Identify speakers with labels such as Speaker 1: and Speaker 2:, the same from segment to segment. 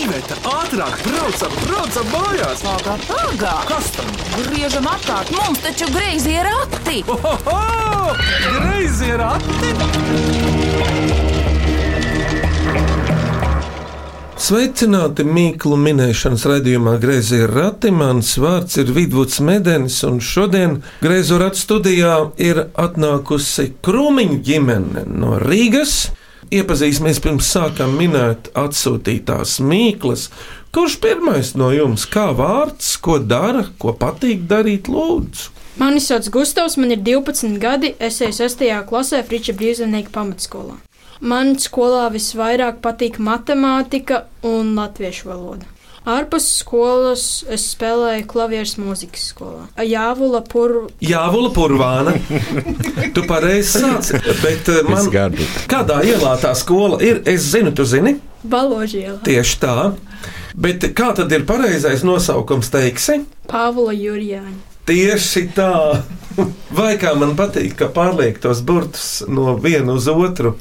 Speaker 1: Iveta, ātrāk, braucam, braucam mājās!
Speaker 2: Ātrāk, ātrāk!
Speaker 1: Kas tam?
Speaker 2: Griežam apkārt, mums taču greizi ir rati!
Speaker 1: Ohoho! Greizi ir atti!
Speaker 3: Sveicināti Mīklu minēšanas raidījumā Griezie rati. Mans vārds ir Vidvuds Medenis, un šodien Griezo ratu studijā ir atnākusi Krūmiņa ģimene no Rīgas. Iepazīsimies pirms sākam minēt atsūtītās mīklas. Kurš pirmais no jums, kā vārds, ko dara, ko patīk darīt, lūdzu?
Speaker 4: Mani sauc Gustavs, man ir 12 gadi, es eju 6. klasē Friča Brīsonēka pamatskolā. Man skolā visvairāk patīk matemātika un latviešu valoda. Ārpus skolas es spēlēju klavieres mūzikas skolā. Jāvula pur...
Speaker 3: Jā, Vula Purvāna. Tu pareizi sāci, bet eh, man
Speaker 5: gadu.
Speaker 3: kādā ielā tā skola ir? Es zinu, tu zini.
Speaker 4: Baložiela,
Speaker 3: Tieši tā. Bet kā tad ir pareizais nosaukums, teiksi?
Speaker 4: Pāvila Jurjāņa.
Speaker 3: Tieši tā. Vai kā man patīk, ka pārliek tos burtus no viena uz otru.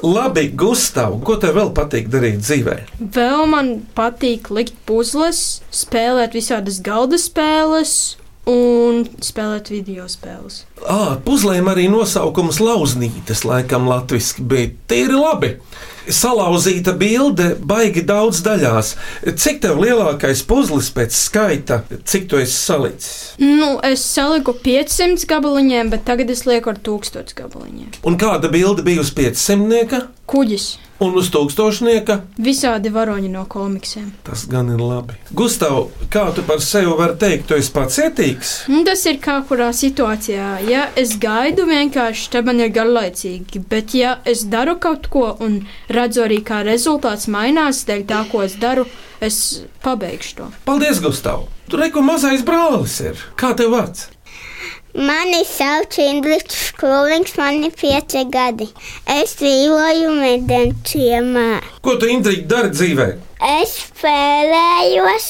Speaker 3: Labi, Gustav, ko tev vēl patīk darīt dzīvē?
Speaker 4: Vēl man patīk likt puzles, spēlēt visādas galda spēles un spēlēt video spēles.
Speaker 3: Ah, puzlēm arī nosaukums lauznītes, laikam, latviešu, bet tīri labi. Salauzīta bilde, baigi daudz daļās. Cik tev lielākais puzlis pēc skaita, cik tu esi salicis?
Speaker 4: Nu, es saliku 500 gabaliņiem, bet tagad es lieku ar 1000 gabaliņiem.
Speaker 3: Un kāda bilde bija uz 500?
Speaker 4: Kuģis.
Speaker 3: Un uz tūkstošnieka
Speaker 4: Visādi varoņi no komiksiem.
Speaker 3: tas gan ir labi. Gustav, kā tu par sevi vari teikt, tu esi pacietīgs?
Speaker 4: Nu, tas ir kā kurā situācijā. Ja es gaidu, vienkārši te man ir garlaicīgi. Bet, ja es daru kaut ko un redzu arī, kā rezultāts mainās, dēļ tā, ko es daru, es pabeigšu to.
Speaker 3: Paldies, Gustav! Tur reku mazais brālis ir. Kā tev vārds?
Speaker 6: Mani sauc Indričs Krūlings, man ir pieci gadi. Es dzīvoju medenčiemā.
Speaker 3: Ko tu Indriģi dari dzīvē?
Speaker 6: Es spēlējos,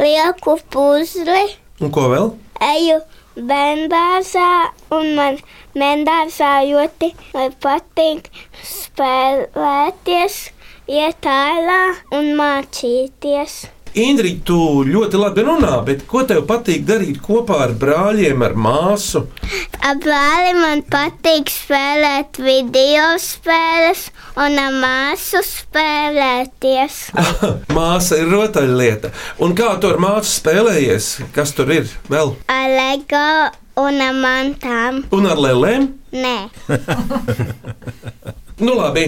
Speaker 6: lieku puzli,
Speaker 3: Un ko vēl?
Speaker 6: eju bendāzā un man bendāzā ļoti eh, patīk spēlēties, iet ārā un mācīties.
Speaker 3: Indriģi, tu ļoti labi runā, bet ko tev patīk darīt kopā ar brāļiem, ar māsu?
Speaker 6: Apgāli man patīk spēlēt video spēles un ar māsu spēlēties.
Speaker 3: Māsa ir rotaļlieta. Un kā tu ar māsu spēlējies? Kas tur ir vēl?
Speaker 6: Ar LEGO un ar mantām.
Speaker 3: Un ar lēlēm?
Speaker 6: Nē,
Speaker 3: Nu, labi.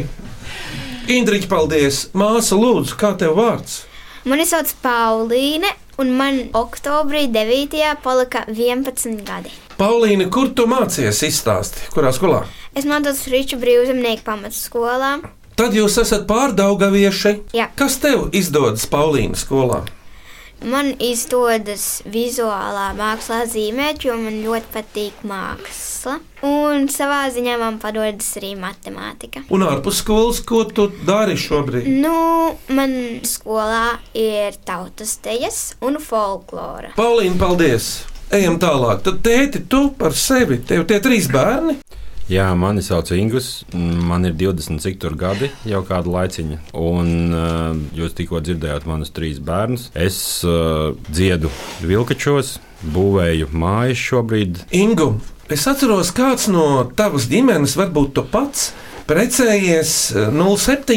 Speaker 3: Indriģi, paldies. Māsa, lūdzu, kā tev vārds?
Speaker 7: Mani sauc Paulīne, un man oktobrī 9. palika 11 gadi.
Speaker 3: Paulīna, kur tu mācījies izstāstīt? Kurā skolā?
Speaker 7: Es mācos Rīču brīvzemnieku pamatskolā.
Speaker 3: Tad jūs esat pārdaugavieši.
Speaker 7: Jā.
Speaker 3: Kas tev izdodas Paulīna skolā?
Speaker 7: Man izdodas vizuālā mākslā zīmēt, jo man ļoti patīk māksla. Un savā ziņā man padodas arī matemātika.
Speaker 3: Un ārpus skolas, ko tu dari šobrīd?
Speaker 7: Nu, man skolā ir tautas tejas un folklora.
Speaker 3: Paulīna, paldies! Ejam tālāk. Tad tēti, tu par sevi. Tev tie trīs bērni.
Speaker 5: Jā, mani sauc Ingūns. Man ir 20 cik tur gadi, jau kāda laiciņa. Un uh, jūs tikko dzirdējāt manus trīs bērnus. Es uh, dziedu vilkačos, būvēju mājas šobrīd.
Speaker 3: Ingu, es atceros, kāds no tavas ģimenes, varbūt tu pats, precējies eh,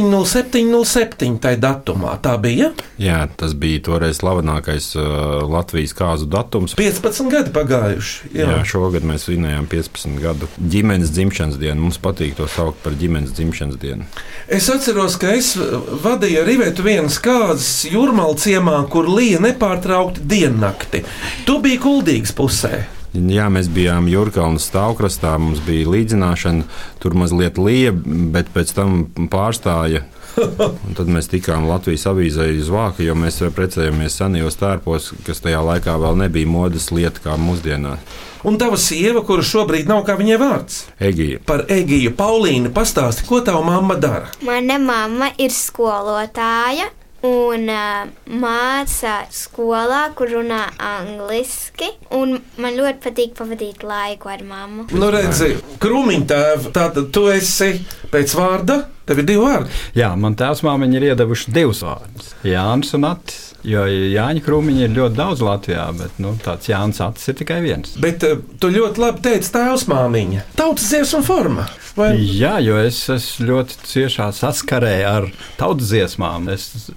Speaker 3: 07.07.07. tajā datumā. Tā bija
Speaker 5: Jā, tas bija toreiz slavenākais uh, Latvijas kāzu datums.
Speaker 3: 15 gadi pagājuši.
Speaker 5: Jā. Jā, šogad mēs svinējām 15 gadu ģimenes dzimšanas dienu. Mums patīk to saukt par ģimenes dzimšanas dienu.
Speaker 3: Es atceros, ka es eh, vadīju Rībētu vienas kādas jūrmālu ciemā, kur lija nepārtraukti diennakti. Tu biji kuldīgs pusē.
Speaker 5: Jā, mēs bijām Jurkalnas stāvkrastā, mums bija līdzināšana, tur mazliet lieja, bet pēc tam pārstāja. Un tad mēs tikām Latvijas avīzē uz vāku, jo mēs precējāmies senajos tērpos, kas tajā laikā vēl nebija modes lieta kā mūsdienās.
Speaker 3: Un tava sieva, kura šobrīd nav kā viņai vārds.
Speaker 5: Egija.
Speaker 3: Par Egiju Paulīnu pastāsti, ko tava mamma dara.
Speaker 7: Mana mamma ir skolotāja un uh, māca skolā, kur runā angliski. un Man ļoti patīk pavadīt laiku ar mammu.
Speaker 3: Nu, redzi, krūmiņtēv, tātad tu esi pēc vārda, Tev ir divi vārdi.
Speaker 8: Jā, man tēvs māmiņa ir iedavuši divus vārdus - Jānis un Atis. Jo Jāņa krūmiņa ir ļoti daudz Latvijā, bet nu, tāds Jānis Atis ir tikai viens.
Speaker 3: Bet eh, tu ļoti labi teici, tēvs māmiņa. Tautas dziesmu forma. Vai
Speaker 8: Jā, jo es esmu ļoti ciešā saskarē ar tautas dziesmām. Es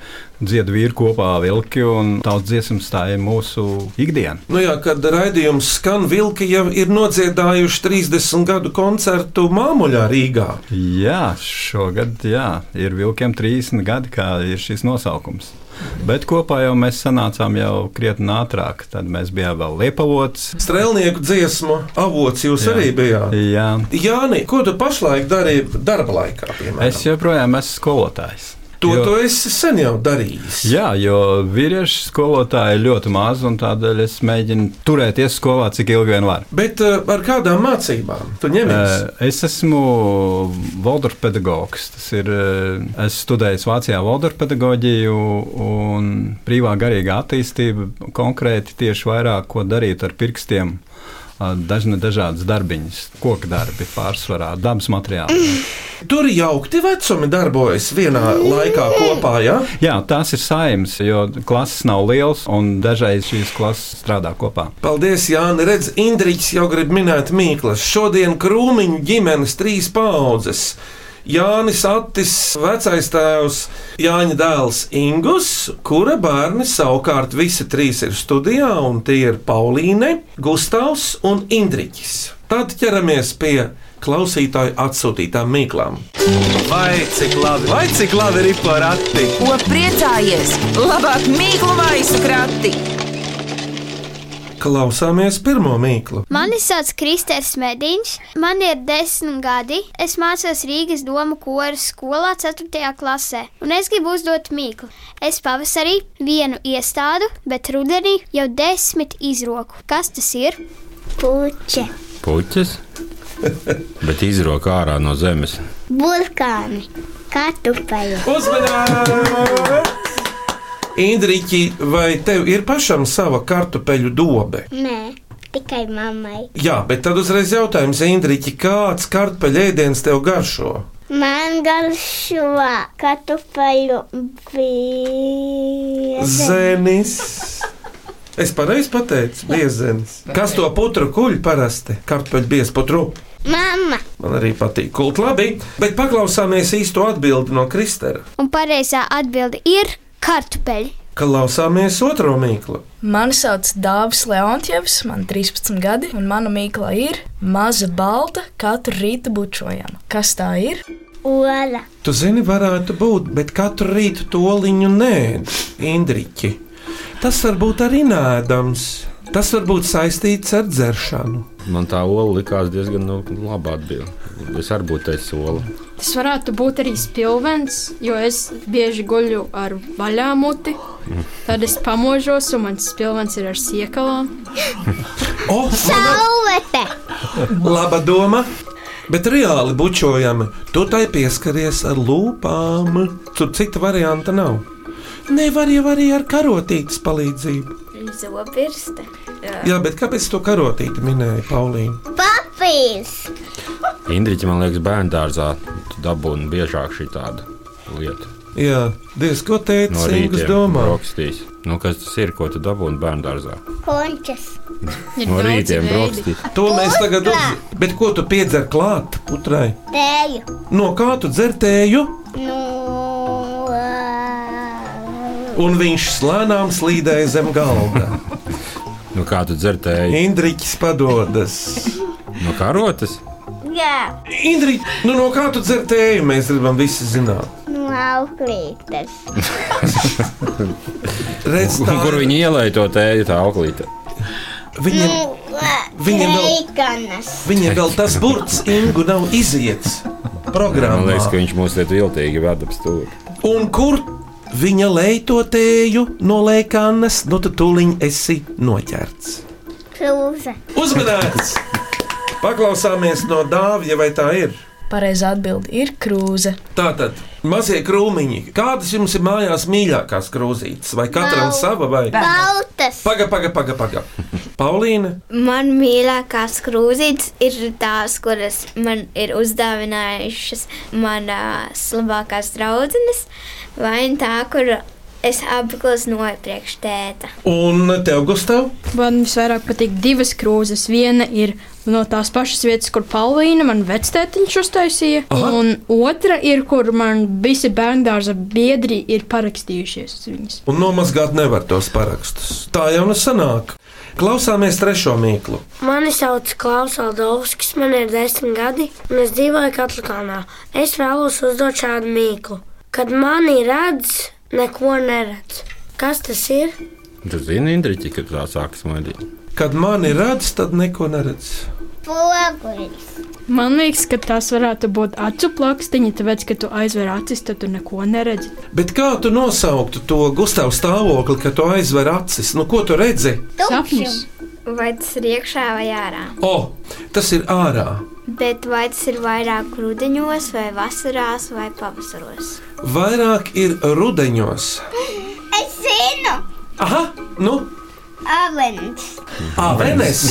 Speaker 8: dziedu vīru kopā vilki, un tautas dziesmas tā ir mūsu ikdiena.
Speaker 3: Nu jā, kad raidījums skan, vilki jau ir nodziedājuši 30 gadu koncertu māmuļā Rīgā.
Speaker 8: Jā, šogad jā, ir vilkiem 30 gadi, kā ir šis nosaukums. Bet kopā jau mēs sanācām jau krietni ātrāk. Tad mēs bijām vēl Liepavots.
Speaker 3: Strēlnieku dziesmu avots jūs jā. arī bijāt.
Speaker 8: Jā,
Speaker 3: Jāni, ko tu pašlaik dari darba laikā? Piemēram?
Speaker 8: Es joprojām esmu skolotājs.
Speaker 3: to
Speaker 8: jo,
Speaker 3: jo... tu esi sen jau darījis.
Speaker 8: Jā, jo vīriešu skolotāju ir ļoti maz, un tādēļ es mēģinu turēties skolā, cik ilgi vien var.
Speaker 3: Bet eh, ar kādām mācībām tu ņemies?
Speaker 8: Eh, Es esmu Valdorf pedagogs. Tas ir, eh, es studēju Vācijā Valdorf pedagoģiju un brīvā garīgā attīstība konkrēti tieši vairāk, ko darīt ar pirkstiem. eh, Dažna dažādas darbiņas, koku darbi pārsvarā, dabas materiāli.
Speaker 3: Tur jaukti vecumi darbojas vienā laikā kopā, jā?
Speaker 8: Jā, tās ir saimnes, jo klases nav liels un dažreiz šīs klases strādā kopā.
Speaker 3: Paldies, Jāni. Redz, Indriķis jau grib minēt mīklas. Šodien krūmiņu ģimenes trīs paudzes. Jānis Attis, vecais tēvs, Jāņa dēls Ingus, kura bērni savukārt visi trīs ir studijā, un tie ir Paulīne, Gustavs un Indriķis. Tad ķeramies pie klausītāju atsūtītām mīklām.
Speaker 1: Vai cik labi, vai cik labi ir porakti?
Speaker 2: Ko priecājies? Labāk mīklu maisu krati!
Speaker 3: Klausāmies pirmo mīklu.
Speaker 6: Mani sauc Kristers Mediņš, man ir desmit gadi. Es mācos Rīgas domu kora skolā 4. klasē, un es gribu uzdot mīklu. Es pavasarī vienu iestādu, bet rudenī jau desmit izroku. Kas tas ir?
Speaker 9: puķe,
Speaker 5: Puķis, bet izroka ārā no zemes.
Speaker 9: burkāni, katupeļi.
Speaker 3: Uzmanības! Indriķi, vai tev ir pašam sava kartupeļu dobe?
Speaker 9: Nē, tikai mammai.
Speaker 3: Jā, bet tad uzreiz jautājums, Indriķi, kāds kartupeļu ēdiens tev garšo?
Speaker 9: Man garšo katupeļu bija.
Speaker 3: Zenis. Es pareizi pateicu, biezzenis. Kas to putru kuļ parasti? Kartupeļu biezputru.
Speaker 9: Mamma,
Speaker 3: Man arī patīk kult labi, bet paklausāmies īsto atbildi no Kristera.
Speaker 6: Un pareizā atbilde ir kartupeļi.
Speaker 3: Klausāmies otro mīklu.
Speaker 10: Mani sauc Dāvis Leontjevs, man ir 13 gadi, un mana mīkla ir maza balta, katru rītu bučojama. Kas tā ir?
Speaker 9: ola,
Speaker 3: Tu zini, varētu būt, bet katru rītu toliņu nē, Indriķi. Tas var būt arī nēdams. Tas var būt saistīts ar dzeršanu.
Speaker 5: Man tā ola likās diezgan nu, laba atbilde. Es arī būtu teicis soli.
Speaker 4: Tas varētu būt arī spilvens, jo es bieži guļu ar vaļā muti. Tad es pamožos, un mans spilvens ir ar siekalām.
Speaker 3: O, mana
Speaker 9: saulete,
Speaker 3: laba doma! Bet reāli bučojami, tu tai pieskaries ar lūpām. Tur cita varianta nav. Nevar jau arī ar karotītes palīdzību.
Speaker 7: Zobirste.
Speaker 3: Jā, bet kāpēc to karotīti minēja Paulīna?
Speaker 9: papīrs,
Speaker 5: Indriķis man liekas, bērnu dārzā dabūna biežāk šī tāda lieta.
Speaker 3: Jā, diez ko teica
Speaker 5: No
Speaker 3: no Ingas
Speaker 5: rīta
Speaker 3: domā.
Speaker 5: brokastīs. Nu, kas tas ir, ko tu dabūni bērnu dārzā?
Speaker 9: končas,
Speaker 4: Ir
Speaker 5: No
Speaker 4: daudz
Speaker 5: rīta
Speaker 4: veidi.
Speaker 5: brokastīs.
Speaker 3: To mēs tagad uzzinām. Bet ko tu piedzer klāt putrai?
Speaker 9: tēju.
Speaker 3: No kā tu dzertēju,
Speaker 9: Nu, ā,
Speaker 3: un viņš slēnām slīdēja zem galda.
Speaker 5: Nu, kā tu dzertēji?
Speaker 3: Indriķis padodas.
Speaker 5: No karotes?
Speaker 9: jā,
Speaker 3: Indriķis, nu no kā tu dzertēji, mēs gribam visi zināt.
Speaker 9: nu, auklītes.
Speaker 3: Redz, tā,
Speaker 5: Kur viņi ielēja to tēju, tā auklīte?
Speaker 3: viņiem,
Speaker 9: Nu,
Speaker 3: Viņiem vēl-
Speaker 9: Veikanas.
Speaker 3: viņiem vēl tas burts Ingu nav iziets
Speaker 5: Man
Speaker 3: programmā.
Speaker 5: liekas, ka viņš mūs liet viltīgi ved ap stūri.
Speaker 3: Un kur viņa leitotēju no lēkānes, nu tad tuliņ esi noķerts.
Speaker 9: Krūze.
Speaker 3: Uzmanīts! Paklausāmies no dāvja, vai tā ir.
Speaker 10: Pareizā atbilde ir krūze.
Speaker 3: Tātad Mazie krūmiņi. Kādas jums ir mājās mīļākās krūzītes? Vai katram
Speaker 9: Bal-
Speaker 3: sava vai?
Speaker 9: Baltas.
Speaker 3: Paga, paga, paga, paga. Paulīne,
Speaker 7: Man mīļākās krūzītes ir tās, kuras man ir uzdāvinājušas manas labākās draudzenes, vai nu tā, kur es apgleznoju priekš tēta.
Speaker 3: un tev, Gustav?
Speaker 4: Man visvairāk patīk divas krūzes. Viena ir no tās pašas vietas, kur Palvīna man vectētiņš uztaisīja,
Speaker 3: Aha.
Speaker 4: un otra ir, kur man visi bērngārza biedri ir parakstījušies uz viņas.
Speaker 3: Un nomazgāt nevar tos parakstus. Tā jau nesanāk. Klausāmies trešo mīklu.
Speaker 11: Mani sauc Klaus Aldovskis, man ir desmit gadi, un es dzīvoju Katlakānā. Es vēlos uzdot šādu mīklu. Kad mani redz, neko neredz. Kas tas ir?
Speaker 5: Tu zini, Indriķi, ka tā sākas maģija.
Speaker 3: Kad mani redz, tad neko neredz.
Speaker 9: Poguļs.
Speaker 4: Man liekas, ka tās varētu būt acu plakstiņa, tāpēc, ka tu aizver acis, tad tu neko neredzi.
Speaker 3: Bet kā tu nosauktu to Gustavu stāvokli, kad tu aizver acis? Nu, ko tu redzi?
Speaker 4: Sapnis.
Speaker 7: Vai tas ir iekšā vai ārā?
Speaker 3: O, oh, tas ir ārā.
Speaker 7: Bet vai tas ir vairāk rudenos, vai vasarās, vai pavasaros?
Speaker 3: Vairāk ir rudeņos.
Speaker 9: Es zinu.
Speaker 3: Aha, nu,
Speaker 9: Avens.
Speaker 3: avenes.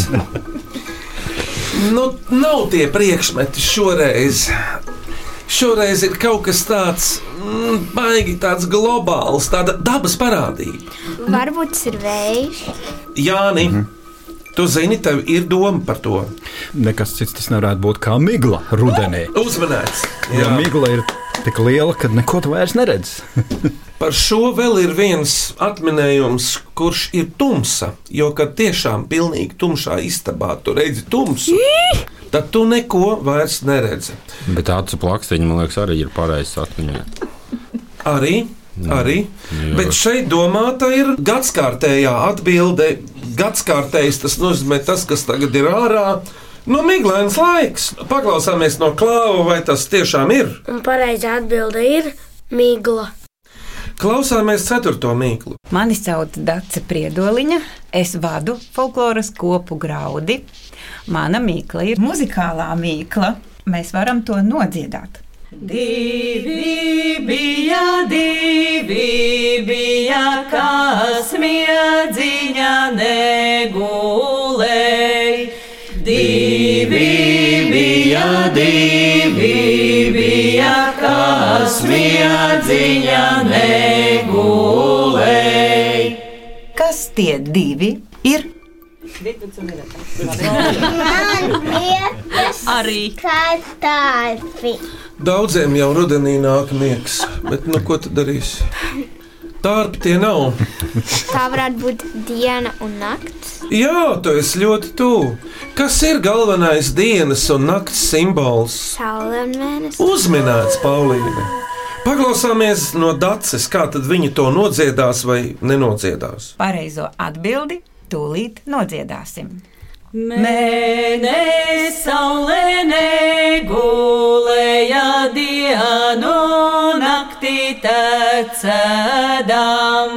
Speaker 3: Nu, nav tie priekšmeti šoreiz. Šoreiz ir kaut kas tāds, mm, baigi tāds globāls, tāda dabas parādība.
Speaker 7: Varbūt tas ir vējš.
Speaker 3: Jāni, tu zini, tev ir doma par to.
Speaker 8: Nekas cits tas nevarētu būt kā migla rudenī.
Speaker 3: Uzmanīts!
Speaker 8: Jā, migla ir tik liela, ka neko tu vairs neredz.
Speaker 3: Par šo vēl ir viens atminējums, kurš ir tumsa. Jo, kad tiešām pilnīgi tumšā istabā tu redzi tumsu, tad tu neko vairs neredzi.
Speaker 5: Bet acu plakstiņa, man liekas, arī ir pareizs atmiņā.
Speaker 3: Arī, arī.
Speaker 5: jā.
Speaker 3: Bet šeit domāta ir gadsimta atbilde. Gadsimtais tas nozīmē tas, kas tagad ir ārā. Nu, miglains laiks. Paklausāmies no klāva, vai tas tiešām ir.
Speaker 11: Un pareizā atbilde ir migla.
Speaker 3: Klausāmies ceturto mīklu.
Speaker 12: Mani sauc Dace Priedoliņa, es vadu folkloras kopu graudi. Mana mīkla ir muzikālā mīkla. Mēs varam to nodziedāt. Divi bija, divi bija, kas miedziņā negulēja. Divi bija, divi bija, kas miedziņā negulēja. Kas tie divi ir?
Speaker 9: Man liekas,
Speaker 12: Arī.
Speaker 9: kā tādi.
Speaker 3: Daudziem jau rudenī nāk miegs, bet nu, ko tu darīsi? Tārpi tie nav.
Speaker 7: Tā varētu būt diena un naktis.
Speaker 3: Jā, tu esi ļoti tuvu. Kas ir galvenais dienas un nakts simbols?
Speaker 7: Saule un mēnesis.
Speaker 3: Uzminēts Paulīne. Paklausāmies no dacis, kā tad viņi to nodziedās vai nenodziedās.
Speaker 12: Pareizo atbildi tūlīt nodziedāsim. Mēne saulē negulēja dienu naktī tecēdām.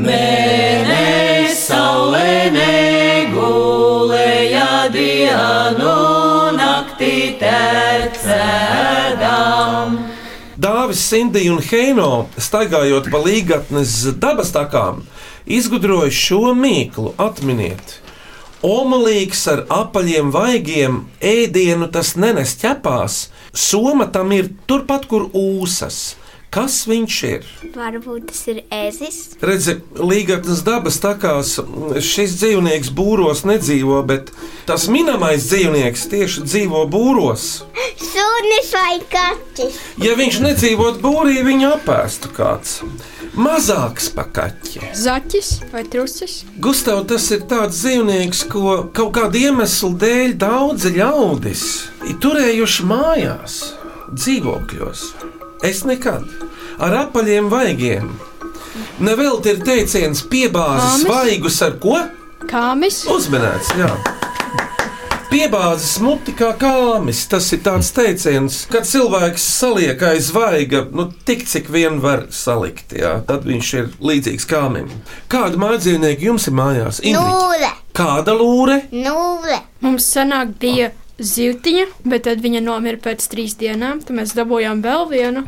Speaker 12: Mēne saulē negulēja dienu naktī tecēdām.
Speaker 3: Dāvis, Sindija un Heino, staigājot pa līgatnes dabas takām, izgudroja šo mīklu. Atminiet, omulīgs ar apaļiem vaigiem, ēdienu tas nenes ķepās, soma tam ir turpat, kur ūsas. Kas viņš ir?
Speaker 7: Varbūt tas ir ezis.
Speaker 3: Redzi, līgatnes dabas takās šis dzīvnieks būros nedzīvo, bet tas minamais dzīvnieks tieši dzīvo būros.
Speaker 9: Sunis vai kaķis?
Speaker 3: Ja viņš nedzīvotu būrī, viņu apēstu kāds. Mazāks par kaķi.
Speaker 4: Zaķis vai trusis?
Speaker 3: Gustav, tas ir tāds dzīvnieks, ko kaut kāda iemesla dēļ daudzi ļaudis ir turējuši mājās, dzīvokļos. Es nekad ar apaļiem vaigiem. Nevelti ir teiciens, piebāzis
Speaker 4: Kāmis?
Speaker 3: svaigus ar ko?
Speaker 4: Kāmis?
Speaker 3: Uzmanīts, jā. Piebāzis muti kā kāmis. Tas ir tāds teiciens, kad cilvēks saliek aiz vaiga, nu tik cik vien var salikt. Jā. Tad viņš ir līdzīgs kāmim. Kāda mājdzīvnieka jums ir mājās? Ingrid?
Speaker 9: Nulle.
Speaker 3: Kāda lūre?
Speaker 9: Nulle.
Speaker 4: Mums senāk bija zivtiņa, bet tad viņa nomira pēc trīs dienām, tad mēs dabūjām vēl vienu.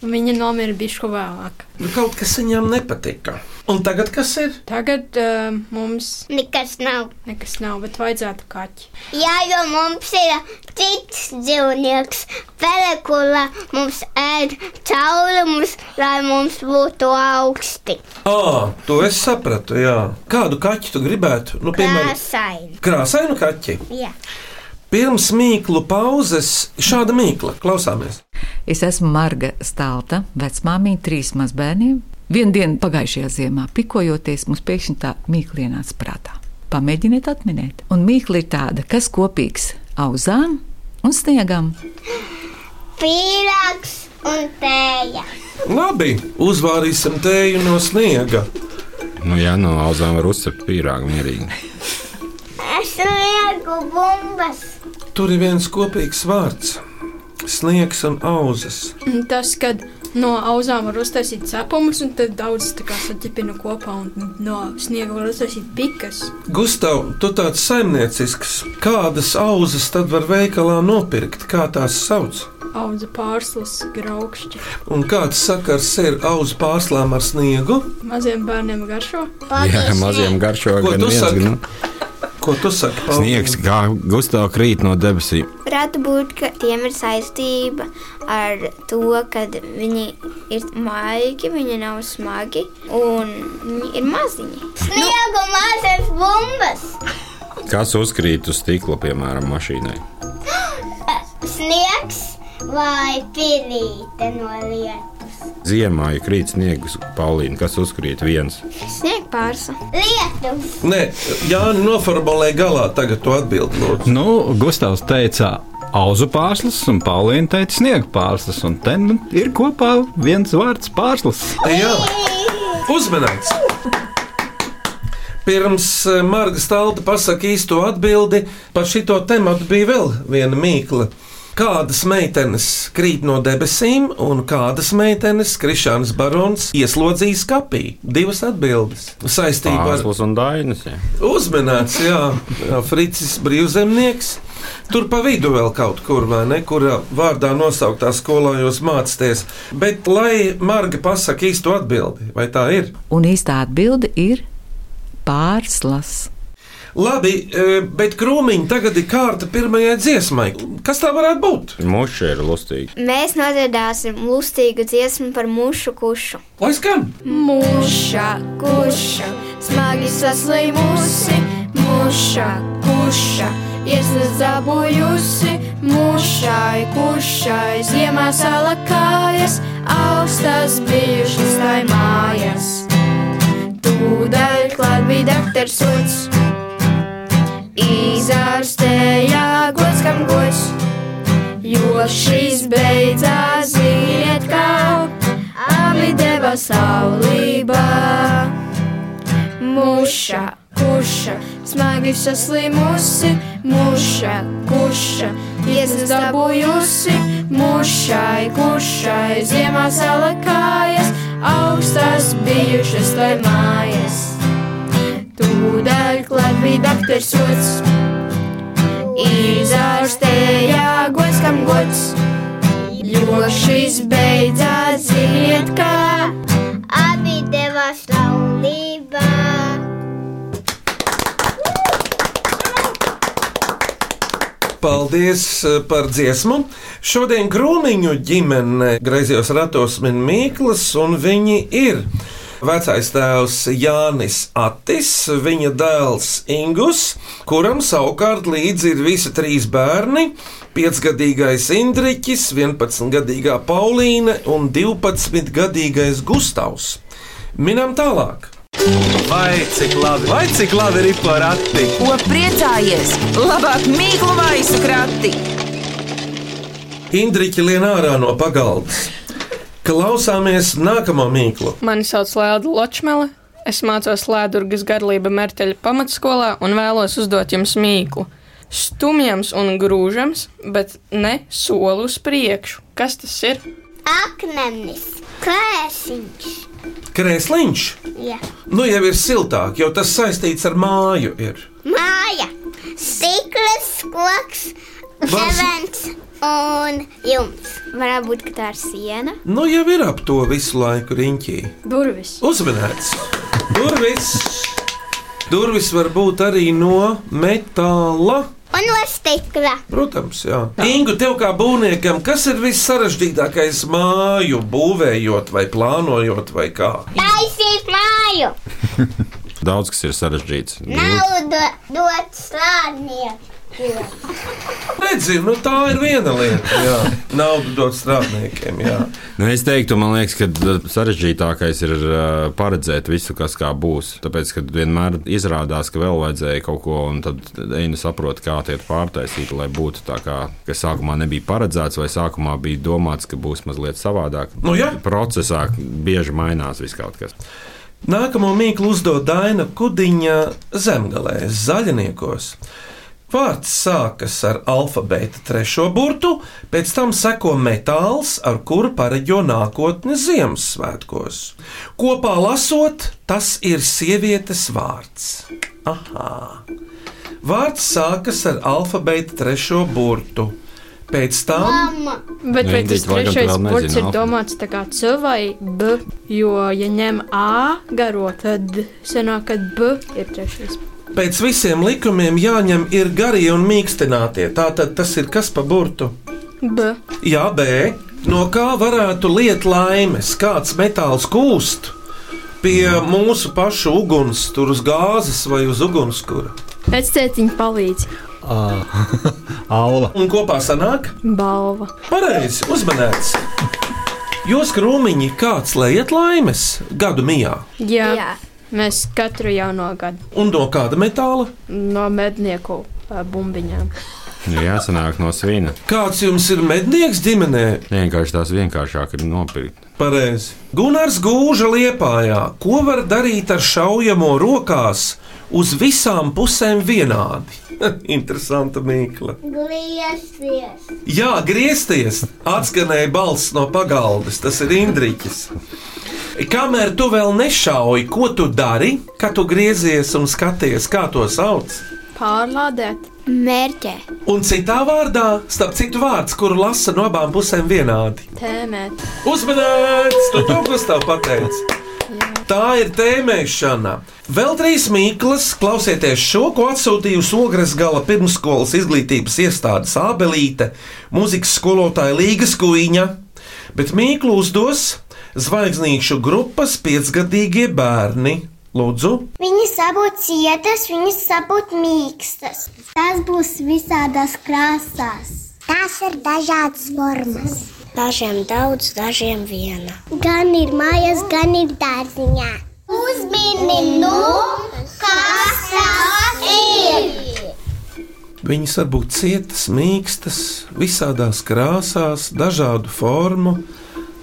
Speaker 4: un viņa nomira bišu vēlāk.
Speaker 3: Nu, kaut kas viņam nepatika. Un tagad kas ir?
Speaker 4: Tagad uh, mums
Speaker 9: nekas nav.
Speaker 4: Nekas nav, bet vajadzētu kaķi.
Speaker 9: Jā, jo mums ir cits dzīvnieks. Pelekula mums ēd caurumus, lai mums būtu augsti.
Speaker 3: Ā, to es sapratu. Jā. Kādu kaķi tu gribētu? Nu, piemēram,
Speaker 9: Krāsaini.
Speaker 3: krāsainu kaķi.
Speaker 9: Jā.
Speaker 3: Pirms mīklu pauzes šāda mīkla klausāmies.
Speaker 12: Es esmu Marga Stalta, vecmāmiņa trīs mazbērniem. Vienu dienu pagājušajā ziemā, pikojoties, mums pēkšņi tā mīkla ienāca prātā. Pamēģiniet atminēt. Un mīkla ir tāda, kas kopīgs auzām un sniegam.
Speaker 9: Pīrāgs un tēja.
Speaker 3: Labi, uzvārīsim tēju no sniega.
Speaker 5: Nu, jā, no auzām var uzsākt pīrāgu mierīgi.
Speaker 9: Es lieku bumbas.
Speaker 3: Tur ir viens kopīgs vārds - sniegs un auzas.
Speaker 4: Un Tas, kad no auzām var uztaisīt cepumus, un tad daudz tā kā saķepina kopā, un no sniega var uztaisīt pikas.
Speaker 3: Gustav, tu tāds saimniecisks, kādas auzas tad var veikalā nopirkt, kā tās sauc?
Speaker 4: Auza pārslas, graukšķi.
Speaker 3: Un kāds sakars ir auzu pārslām ar sniegu?
Speaker 4: Maziem bērniem garšo.
Speaker 5: Jā, maziem garšo
Speaker 3: Ko
Speaker 5: gan
Speaker 3: tu
Speaker 5: viens,
Speaker 3: saki?
Speaker 5: gan
Speaker 3: Ko tu saki? Pauli?
Speaker 5: sniegs, kā Gustavs krīt no debesīm.
Speaker 13: Varētu būt, ka tiem ir saistība ar to, ka viņi ir maigi, viņi nav smagi un viņi ir maziņi.
Speaker 9: Sniegu mazas bumbas.
Speaker 5: Kas uzkrīt uz stikla, piemēram, mašīnai?
Speaker 9: Sniegs vai pilīte no lietas.
Speaker 5: Ziemā, ja krīt sniegs, Paulīna, kas uzkrīt viens?
Speaker 9: Sniegpārsa. Lietus.
Speaker 3: Nē, Jānis noformulē galā tagad to atbildot.
Speaker 8: Nu, Gustavs teica, auzu pārslas, un Paulīna teica, sniega pārslas. Un te nu, ir kopā viens vārds pārslas.
Speaker 5: Nu,
Speaker 3: Jā, uzmanīgs! Pirms eh, Marga Stalta pasakā īsto atbildi par šito tematu bija vēl viena mīkla. Kādas meitenes krīt no debesīm, un kādas meitenes Krišāns Barons ieslodzīs kapī? Divas atbildes saistībā ar
Speaker 5: Pārslas un dainis. jā.
Speaker 3: Uzmanīts, jā, Jā, Fricis Brīvzemnieks. Tur pa vidu vēl kaut kur, vai ne, kurā vārdā nosauktā skolā jūs mācāties. Bet lai Marga pasaka īstu atbildi, vai tā ir?
Speaker 12: Un īstā atbilde ir pārslas.
Speaker 3: Labi, e, bet krūmiņi tagad ir kārta pirmajai dziesmai. Kas tā varētu būt?
Speaker 5: Muša ir lustīga.
Speaker 13: Mēs nodziedāsim lustīgu dziesmu par mušu kušu.
Speaker 3: Lai skan!
Speaker 13: Mūša kuša, smagi saslimusi, mūša kuša, iesazabojusi, mūšai kušai, ziemā salakājas, augstas bijušas tai mājas. Tūdaļ klāt bija daktars sots, izārstējā gods kam gods, jo šis beidzās ziet kaut abi deva saulībā. Mūša, kurša, smagi saslimusi, mūša, kurša, iesas dabūjusi, mūšai, kuršai, ziemā salakājas, augstas bijušas tai mājas. Tūdaļ klāt bija daktars sots, izārstējā gods kam gods. Jo šis beidzās ziet, kā
Speaker 9: Abi deva slaulībā.
Speaker 3: Paldies eh, par dziesmu. Šodien krūmiņu ģimene griezījos ratos min Mīklas, un viņi ir vecais tēvs Jānis Attis, viņa dēls Ingus, kuram savukārt līdzi ir visi trīs bērni - 5-gadīgais Indriķis, 11-gadīgā Paulīne un 12-gadīgais Gustavs. Minam tālāk!
Speaker 14: Vai cik labi, vai cik labi ir porati?
Speaker 15: Ko priecājies? Labāk mīklu maisu krati!
Speaker 3: Indriķi lien ārā no pagaldas. Klausāmies nākamo mīklu.
Speaker 16: Mani sauc Lēda Ločmele. Es mācos Lēdurgas garlība Merteļa pamatskolā un vēlos uzdot jums mīklu. Stumjams un grūžams, bet ne soli uz priekšu. Kas tas ir?
Speaker 9: Akmenis, klēsiņš.
Speaker 3: Krēsliņš,
Speaker 9: Jā.
Speaker 3: nu jau ir siltāk, jo tas saistīts ar māju. Ir.
Speaker 9: Māja, stikls, koks,
Speaker 3: Vars-
Speaker 9: zevens,
Speaker 6: Un jums varētu būt ka tā ir siena.
Speaker 3: Nu, jau ir ap to visu laiku riņķī.
Speaker 4: Durvis.
Speaker 3: Uzmanīts! Durvis! Durvis var būt arī no metāla.
Speaker 9: Un no stikla.
Speaker 3: Protams, jā. Ingu, tev kā būvniekam, kas ir vissarežģītākais māju būvējot, vai plānojot, vai kā?
Speaker 9: Taisīt māju!
Speaker 5: Daudz kas ir sarežģīts.
Speaker 9: Naudu dot slāniekiem!
Speaker 3: Redzi, nu tā ir viena lieta. Jā. Naudu dot strādniekiem. Jā.
Speaker 5: Nu, es teiktu, man liekas, ka uh, sarežģītākais ir uh, paredzēt visu, kas kā būs. Tāpēc, kad vienmēr izrādās, ka vēl vajadzēja kaut ko, un tad eini saprot, kā tie ir pārtaisīti, lai būtu tā, kā, kas sākumā nebija paredzēts, vai sākumā bija domāts, ka būs mazliet savādāk.
Speaker 3: Nu, jā.
Speaker 5: Procesā bieži mainās viss kaut kas.
Speaker 3: Nākamo mīklu uzdod Daina Kudiņa zemgalē, zaļniekos. Vārds sākas ar alfabēta trešo burtu, pēc tam seko metāls, ar kuru pareģo nākotni Ziemassvētkos. Kopā lasot, tas ir sievietes vārds. Aha! Vārds sākas ar alfabēta trešo burtu, pēc tam.
Speaker 4: Bet vai tas
Speaker 3: Indīt, Nu, laikam, tu
Speaker 4: trešais
Speaker 3: vēl nezini
Speaker 4: burts ir
Speaker 3: alfabetu.
Speaker 4: domāts tā kā C vai B? Jo, ja ņem A garo, tad senāk, kad B ir trešais.
Speaker 3: Pēc visiem likumiem jāņem ir garie un mīkstinātie. Tātad tas ir kas pa burtu?
Speaker 4: B.
Speaker 3: Jā, B. No kā varētu liet laimes? Kāds metāls kūst pie mūsu pašu uguns, tur uz gāzes vai uz ugunskura?
Speaker 4: Pēc tētiņa palīdz.
Speaker 3: Aula. Un kopā sanāk?
Speaker 4: Balva.
Speaker 3: Pareizi, uzmanēts! Jūs krūmiņi kāds liet laimes gadu mijā
Speaker 4: Jā. Jā. Mēs katru jauno gadu
Speaker 3: un no kāda metāla?
Speaker 4: no mednieku ā, bumbiņām.
Speaker 5: Nu, jāsanāk no svina.
Speaker 3: Kāds jums ir mednieks ģimenē?
Speaker 5: Vienkārši tās vienkāršāk ir nopirkt.
Speaker 3: Pareizi. Gunārs Gūža liepājā, ko var darīt ar šaujamo rokās uz visām pusēm vienādi? Interesanta mīkla.
Speaker 9: Griezties!
Speaker 3: Jā, griezties! Atskanēja balss no pagaldes, tas ir Indriķis. Kamēr tu vēl nešauji, ko tu dari, kad tu griezies un skaties, kā to sauc?
Speaker 4: Pārlādēt.
Speaker 6: Mērķē.
Speaker 3: Un citā vārdā, starp citu vārds, kuru lasa no abām pusēm vienādi.
Speaker 4: Tēmēt.
Speaker 3: Uzmanīts! Tu to Gustav pateici! Tā ir tēmēšana. Vēl trīs mīklas, klausieties šo, ko atsūtīja uz Ogres gala pirmsskolas izglītības iestādes abelīte, mūzikas skolotāja Līgas Kuīņa, bet mīklu uzdos zvaigznīšu grupas piecgadīgie bērni. Lūdzu,
Speaker 9: Viņas sabūt cietas, viņas sabūt mīkstas. Tās būs visādās krāsās. Tās ir dažādas formas. Dažiem daudz, dažiem viena. Gan ir mājas, gan ir dārziņā. Uzmini, nu, kas tas ir?
Speaker 3: viņas var būt cietas, mīkstas, visādās krāsās, dažādu formu,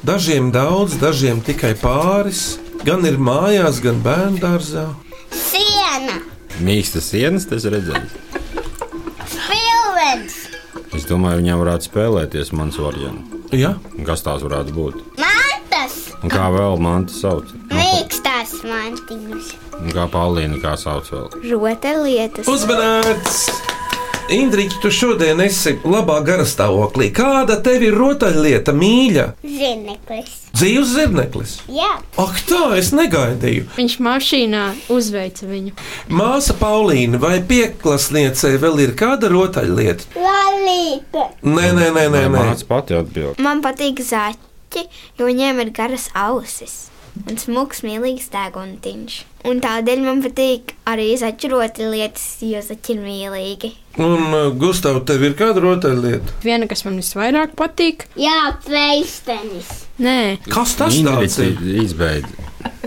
Speaker 3: dažiem daudz, dažiem tikai pāris, gan ir mājās, gan bērngārzā.
Speaker 9: Siena,
Speaker 5: Mīkstas sienas, tas redzēs.
Speaker 9: pilvens,
Speaker 5: Es domāju, viņām varētu spēlēties mans variants.
Speaker 3: Jā.
Speaker 5: Kas tās varētu būt?
Speaker 9: mantas,
Speaker 5: Un kā vēl mantu sauc?
Speaker 9: mīkstās mantiņas,
Speaker 5: Un kā Paulīna, kā sauc vēl?
Speaker 7: rotaļlietas.
Speaker 3: Uzmanīts! Indriķi, tu šodien esi labā garastāvoklī. Kāda tev ir rotaļlieta mīļa?
Speaker 9: zineklis.
Speaker 3: Dzīves zirneklis.
Speaker 9: Jā,
Speaker 3: Ak, tā es negaidīju.
Speaker 4: Viņš mašīnā uzveica viņu.
Speaker 3: Māsa Paulīna vai pieklasniecei vēl ir kāda rotaļlieta?
Speaker 9: lalīte.
Speaker 3: Nē, nē, nē, nē. nē.
Speaker 5: Māc pati atbild.
Speaker 7: Man patīk zaķi, jo viņiem ir garas ausis un smūgs, mīlīgs tēguntiņš. Un tādēļ man patīk arī zaķiroti lietas, jo zaķi ir mīlīgi.
Speaker 3: Un, uh, Gustav, tev ir kāda rotaļlieta?
Speaker 4: Viena, kas man visvairāk patīk,
Speaker 9: Jā, pleistenis.
Speaker 4: Nē,
Speaker 3: Kas tas tāds ir?
Speaker 5: Izbeidz.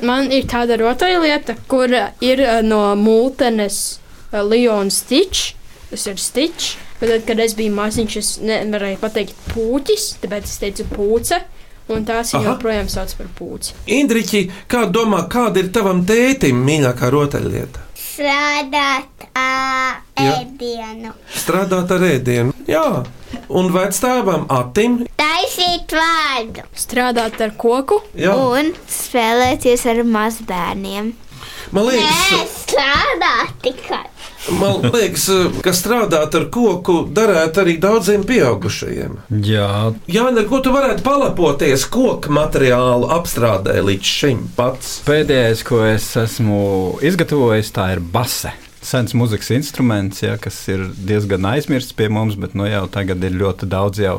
Speaker 4: man ir tāda rotaļlieta, kur ir eh, no mūtenes Lions Stitch. Tas ir Stitch. Bet tad, kad es biju maziņš, es nevarēju pateikt puķis, tāpēc es teicu pūce. Un tās viņa
Speaker 3: Aha.
Speaker 4: joprojām sauc par pūci.
Speaker 3: Indriķi, kā domā, kāda ir tavam tētim mīļākā rotaļlieta?
Speaker 9: Strādāt ā,
Speaker 3: Jā.
Speaker 9: ēdienu,
Speaker 3: Strādāt ar ēdienu. Jā, un vectēvam Atim
Speaker 9: taisīt vārdu.
Speaker 4: Strādāt ar koku.
Speaker 3: Jā.
Speaker 7: Un spēlēties ar mazbērniem.
Speaker 3: Man liekas,
Speaker 9: Strādāt tikai.
Speaker 3: Man liekas, ka strādāt ar koku darētu arī daudziem pieaugušajiem.
Speaker 8: Jā,
Speaker 3: Jā, nē, ko tu varētu palapoties koku materiālu apstrādē līdz šim pats?
Speaker 8: Pēdējais, ko es esmu izgatavojis, tā ir base. Sens mūzikas instruments, ja, kas ir diezgan aizmirsts pie mums, bet nu, jau tagad ir ļoti daudz jau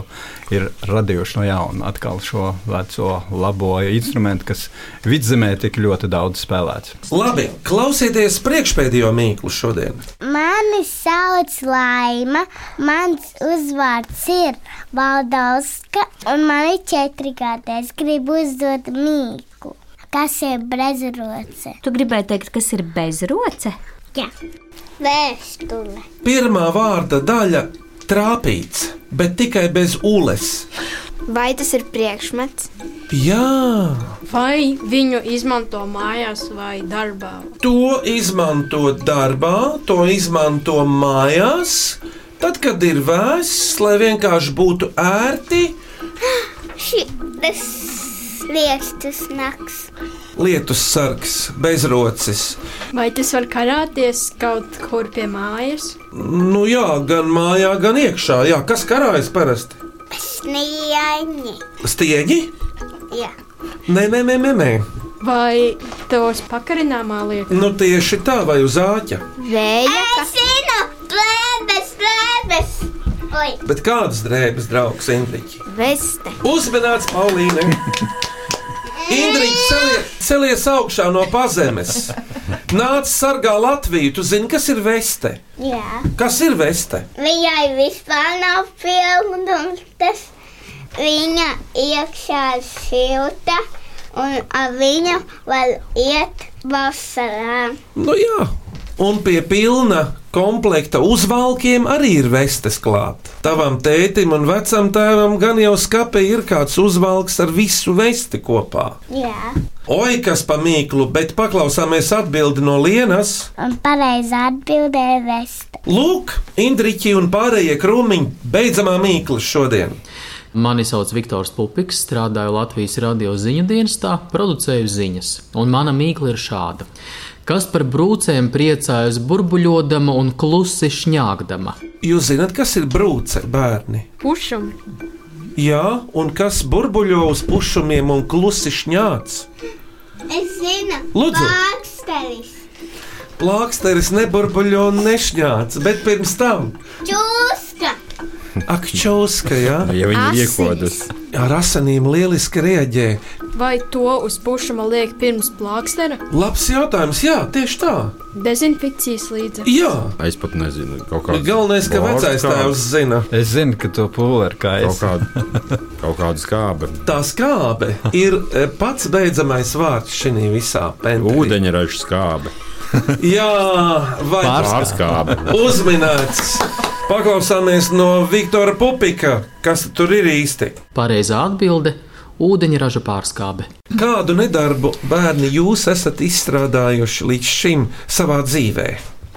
Speaker 8: ir radījuši no jauna atkal šo veco labo instrumentu, kas vidzemē tik ļoti daudz spēlēts.
Speaker 3: Labi, klausieties priekšpēdējo mīklu šodien.
Speaker 9: Mani sauc Laima, mans uzvārds ir Valdauska, un man ir četri gadi. Es gribu uzdot mīklu. Kas ir bezroce?
Speaker 17: Tu gribēji teikt, kas ir bezroce?
Speaker 9: Jā, vēstule.
Speaker 3: Pirmā vārda daļa - trāpīts, bet tikai bez ules.
Speaker 7: Vai tas ir priekšmets?
Speaker 3: Jā,
Speaker 4: Vai viņu izmanto mājās vai darbā?
Speaker 3: to izmanto darbā, to izmanto mājās. Tad, kad ir vēss, lai vienkārši būtu ērti,
Speaker 9: Šis lietus naks.
Speaker 3: lietus sargs, bezrocis.
Speaker 4: Vai tas var karāties kaut kur pie mājas?
Speaker 3: Nu, jā, gan mājā, gan iekšā. Jā, kas karājas parasti?
Speaker 9: Snieņi.
Speaker 3: Stieņi?
Speaker 9: Jā.
Speaker 3: Nē, nē, nē, nē. nē.
Speaker 4: Vai tos pakarināmā lieta?
Speaker 3: Nu, tieši tā, vai uz āķa.
Speaker 9: Vēja. Es zinu, plēbes, plēbes. Oi,
Speaker 3: Bet kādas drēbes, draugs, Indriķi?
Speaker 9: veste.
Speaker 3: Uzmanīts, Paulīne! Indriķi, celie- celies augšā no pazemes! Nāc, sargā Latviju! Tu zini, kas ir veste?
Speaker 9: Jā.
Speaker 3: Kas ir veste?
Speaker 9: Viņai vispār nav pilnums. Tas. Viņa iekšā ir silta, un ar viņu var iet vasarā.
Speaker 3: Nu jā, un pie pilna komplekta uzvalkiem arī ir vestes klāt. Tavam tētim un vecam tēvam gan jau skapē ir kāds uzvalks ar visu vesti kopā.
Speaker 9: Jā.
Speaker 3: Oi, kas pa mīklu, bet paklausāmies atbildi no Lienas.
Speaker 9: Un pareizi atbildēja veste.
Speaker 3: Lūk, Indriķi un pārējie krūmiņi beidzamā mīkla šodien.
Speaker 18: Mani sauc Viktors Pupiks, strādāju Latvijas radio ziņu dienestā, producēju ziņas, un mana mīkla ir šāda. Kas par brūcēm priecājas burbuļodama un klusi šņāgdama?
Speaker 3: Jūs zināt, kas ir brūce, bērni?
Speaker 4: Pušam.
Speaker 3: Jā, un kas burbuļo uz pušumiem un klusi šņāts?
Speaker 9: Es zinu,
Speaker 3: Lūdzu.
Speaker 9: Pārsteigts,
Speaker 3: Plāksteris neburbuļo un nešņāts, bet pirms tam
Speaker 9: čūska.
Speaker 3: akčauska, jā?
Speaker 5: Ja viņi ir
Speaker 4: Asinis.
Speaker 5: iekodas.
Speaker 3: Ar asinīm lieliski rieģē.
Speaker 4: Vai to uz pušuma liek pirms plākstera?
Speaker 3: Labs jautājums, jā, tieši tā.
Speaker 4: Dezinfekcijas līdzekļi.
Speaker 3: Jā.
Speaker 5: Es pat nezinu, kaut kāda.
Speaker 3: Nu, Galvenais, ka vecais tēvs zina.
Speaker 8: Es zinu, ka to pūlēr kā es.
Speaker 5: Kaut, kāda, kaut kāda skābe.
Speaker 3: Tā skābe ir e, pats beidzamais vārds šajā visā pēdējā.
Speaker 5: Ūdeņraža skābe.
Speaker 3: Jā, vai
Speaker 5: Pārskābe.
Speaker 3: Uzminēts! Paklausāmies no Viktora Pupika, kas tur ir īsti.
Speaker 18: Pareizā atbilde - ūdeņraža pārskābe.
Speaker 3: Kādu nedarbu bērni jūs esat izstrādājuši līdz šim savā dzīvē?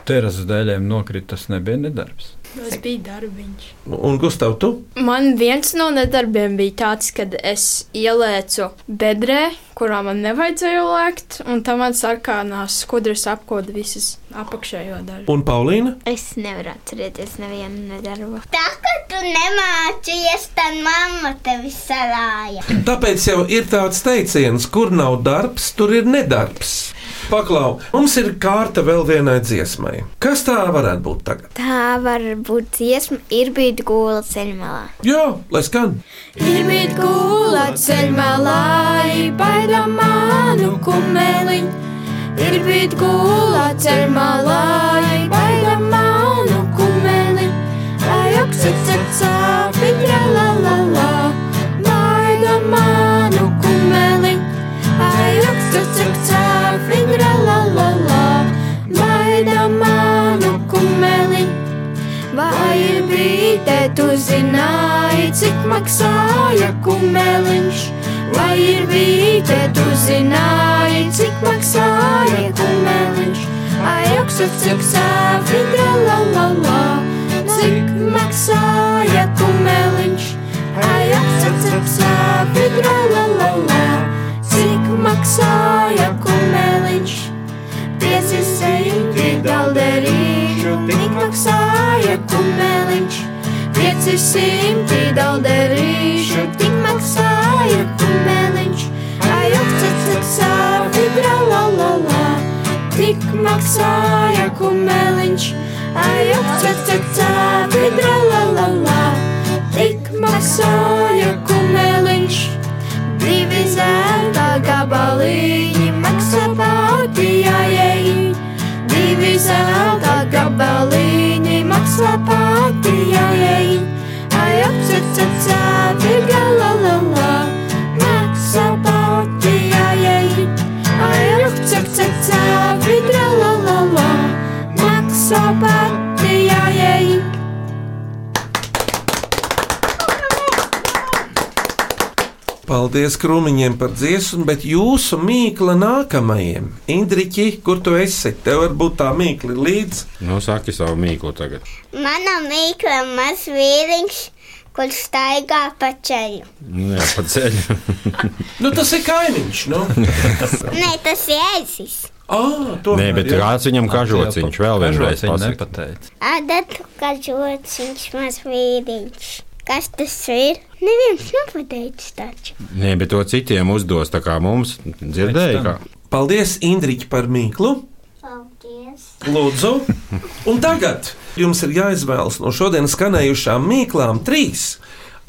Speaker 8: Terases dēļiem nokrita tas nebija nedarbs.
Speaker 4: Tas bija darbiņš.
Speaker 3: Nu, Un, Gustav, tu?
Speaker 4: Man viens no nedarbiem bija tāds, kad es ielēcu bedrē, kurā man nevajadzēja lēkt, un tā man sarkanās skudras apkoda visas apakšējo daļu.
Speaker 3: Un Paulīna?
Speaker 7: Es nevaru atcerēties nevienu nedarbu.
Speaker 9: Tā kā tu nemācījies, tad mamma tevi salāja.
Speaker 3: Tāpēc jau ir tāds teiciens, kur nav darbs, tur ir nedarbs. Paklau, mums ir kārta vēl vienai dziesmai. Kas tā varētu būt tagad?
Speaker 7: Tā var būt dziesma, ir bijusi gula ceļmalā.
Speaker 3: Jā, lai skan!
Speaker 13: Ir mīt gula ceļmalā, baida manu kumeliņu. Ir mīt gula ceļmalā, baida manu kumeliņu. Ai, oksicecā, pitra la la la, baida manu kumeliņu. Ai, oksicecā, pitra la la la, baida manu kumeliņu. Vai ir brīdē tu zināji, cik maksāja kumeliņš? Vai ir brīdē tu zināji, cik maksāja kumeliņš? Ai, augstu, cik sāpīgi, la la la, cik maksāja kumeliņš? Ai, augstu, cik sāpīgi, la la la, cik maksāja kumeliņš? Tiesi seju, tik galderīšu, tik divi simti dauderīšu, tik maksāja kumeliņš. Ai, apcacacā, vibra la la la, tik maksāja kumeliņš. Ai, apcacacā, vibra la la la, tik maksāja kumeliņš. Divi zelta gabaliņi maksā patijai. Divi zelta gabaliņi maksā patijai. Ai, apsvecēcā, virga la la la, maksā patijai. Ai, apsvecēcā, virga la la la, maksā patijai.
Speaker 3: Paldies krūmiņiem par dziesmu, bet jūsu mīkla nākamajiem. Indriķi, kur tu esi? Tev varbūt tā mīkla ir līdzi.
Speaker 5: Nu, saki savu mīklu tagad.
Speaker 9: Mana mīkla maz vīriņš, kurš staigā pa ceļu.
Speaker 5: Nu, Jā, pa ceļu.
Speaker 3: Nu, tas ir kaimiņš. Nu.
Speaker 9: Nē, tas ir ēzis.
Speaker 3: Ah,
Speaker 5: Nē, bet kāds viņam kažociņš vēl vienreiz
Speaker 8: pateica.
Speaker 9: Adatu kažots, viņš maz vīriņš. Kas tas ir? Neviens nepateicis taču.
Speaker 5: Nē, bet to citiem uzdos, tā kā mums dzirdēja. Kā.
Speaker 3: Paldies, Indriķi, par mīklu.
Speaker 9: Paldies.
Speaker 3: Lūdzu, un tagad jums ir jāizvēlas no šodienas skanējušām mīklām trīs -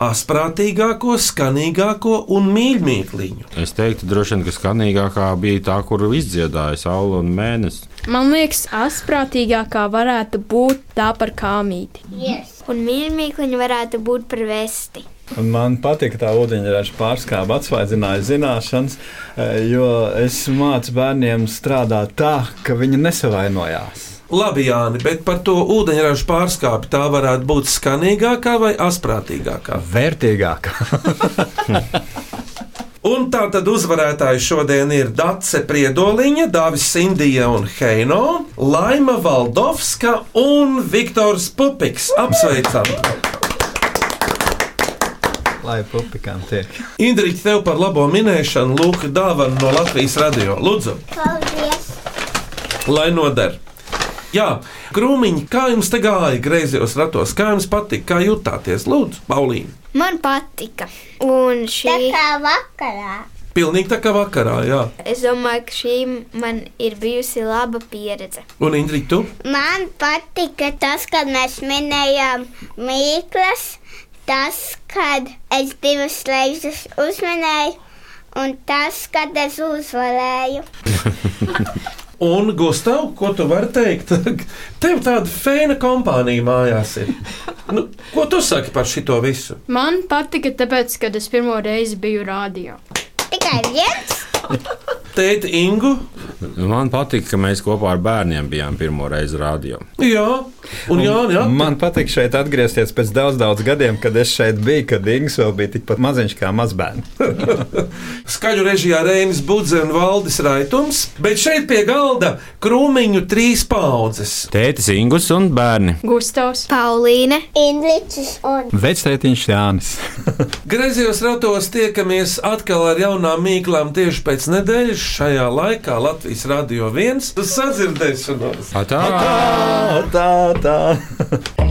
Speaker 3: asprātīgāko, skanīgāko un mīļāko.
Speaker 5: Es teiktu, droši vien, ka skanīgākā bija tā, kur izdziedāja saule un mēnesis.
Speaker 4: Man liekas, asprātīgākā varētu būt tā par kāmīti.
Speaker 7: Yes. Un mīļākie varētu būt par vēsti.
Speaker 8: Man patīk tā ūdeņraža pārskāba, atsvaidzināja zināšanas, eh, jo es mācu bērniem strādāt tā, ka viņi nesavainojās.
Speaker 3: Labi, Jāni, bet par to ūdeņraža pārskāpi tā varētu būt skanīgākā vai asprātīgākā?
Speaker 8: Vērtīgākā.
Speaker 3: un tā tad uzvarētāji šodien ir Dace Priedoliņa, Dāvis Sindija un Heino, Laima Valdovska un Viktors Pupiks. Apsveicam!
Speaker 8: Lai pupikām tiek.
Speaker 3: Indriķi, tev par labo minēšanu, lūk, dāvana no Latvijas radio. Lūdzu,
Speaker 9: Paldies.
Speaker 3: lai noder! Jā, krūmiņi, kā jums te gāja griezos ratos? Kā jums patika, kā jutāties? Lūdzu, Paulīna!
Speaker 7: Man patika. Un
Speaker 9: Tā
Speaker 7: šī,
Speaker 9: kā vakarā.
Speaker 3: Pilnīgi tā kā vakarā, jā.
Speaker 7: es domāju, ka šī man ir bijusi laba pieredze.
Speaker 3: Un Indriķi, tu?
Speaker 9: Man patika tas, kad mēs minējām mīklas, tas, kad es divas reizes uzminēju, un tas, kad es uzvarēju.
Speaker 3: Un, Gustav, ko tu vari teikt? Tev tāda fēna kompānija mājās ir. Nu, ko tu saki par šito visu?
Speaker 4: Man patika, tāpēc, kad es pirmo reizi biju rādio.
Speaker 9: Tikai viens?
Speaker 3: Tēti Ingu?
Speaker 5: Man patīk, ka mēs kopā ar bērniem bijām pirmo reizi rādio.
Speaker 3: Jā, un Jānis. Jā.
Speaker 8: Man patīk šeit atgriezties pēc daudz, daudz gadiem, kad es šeit biju, kad Ingūns vēl bija tikpat maziņš kā mazbērns.
Speaker 3: Skaļu režijā Rēnis Budze un Valdis Raitums, bet šeit pie galda krūmiņu trīs paudzes.
Speaker 5: Tētis Ingus un bērni.
Speaker 4: Gustavs,
Speaker 7: Paulīne,
Speaker 9: Indričs un
Speaker 8: Vecētiņš Jānis.
Speaker 3: Griezījos ratos tiekamies atkal ar jaunām mīklām tieši pēc nedēļas. Šajā laikā Latvijas radio viens sadzirdēšanos.
Speaker 5: Tā
Speaker 8: Tā, tā, tā.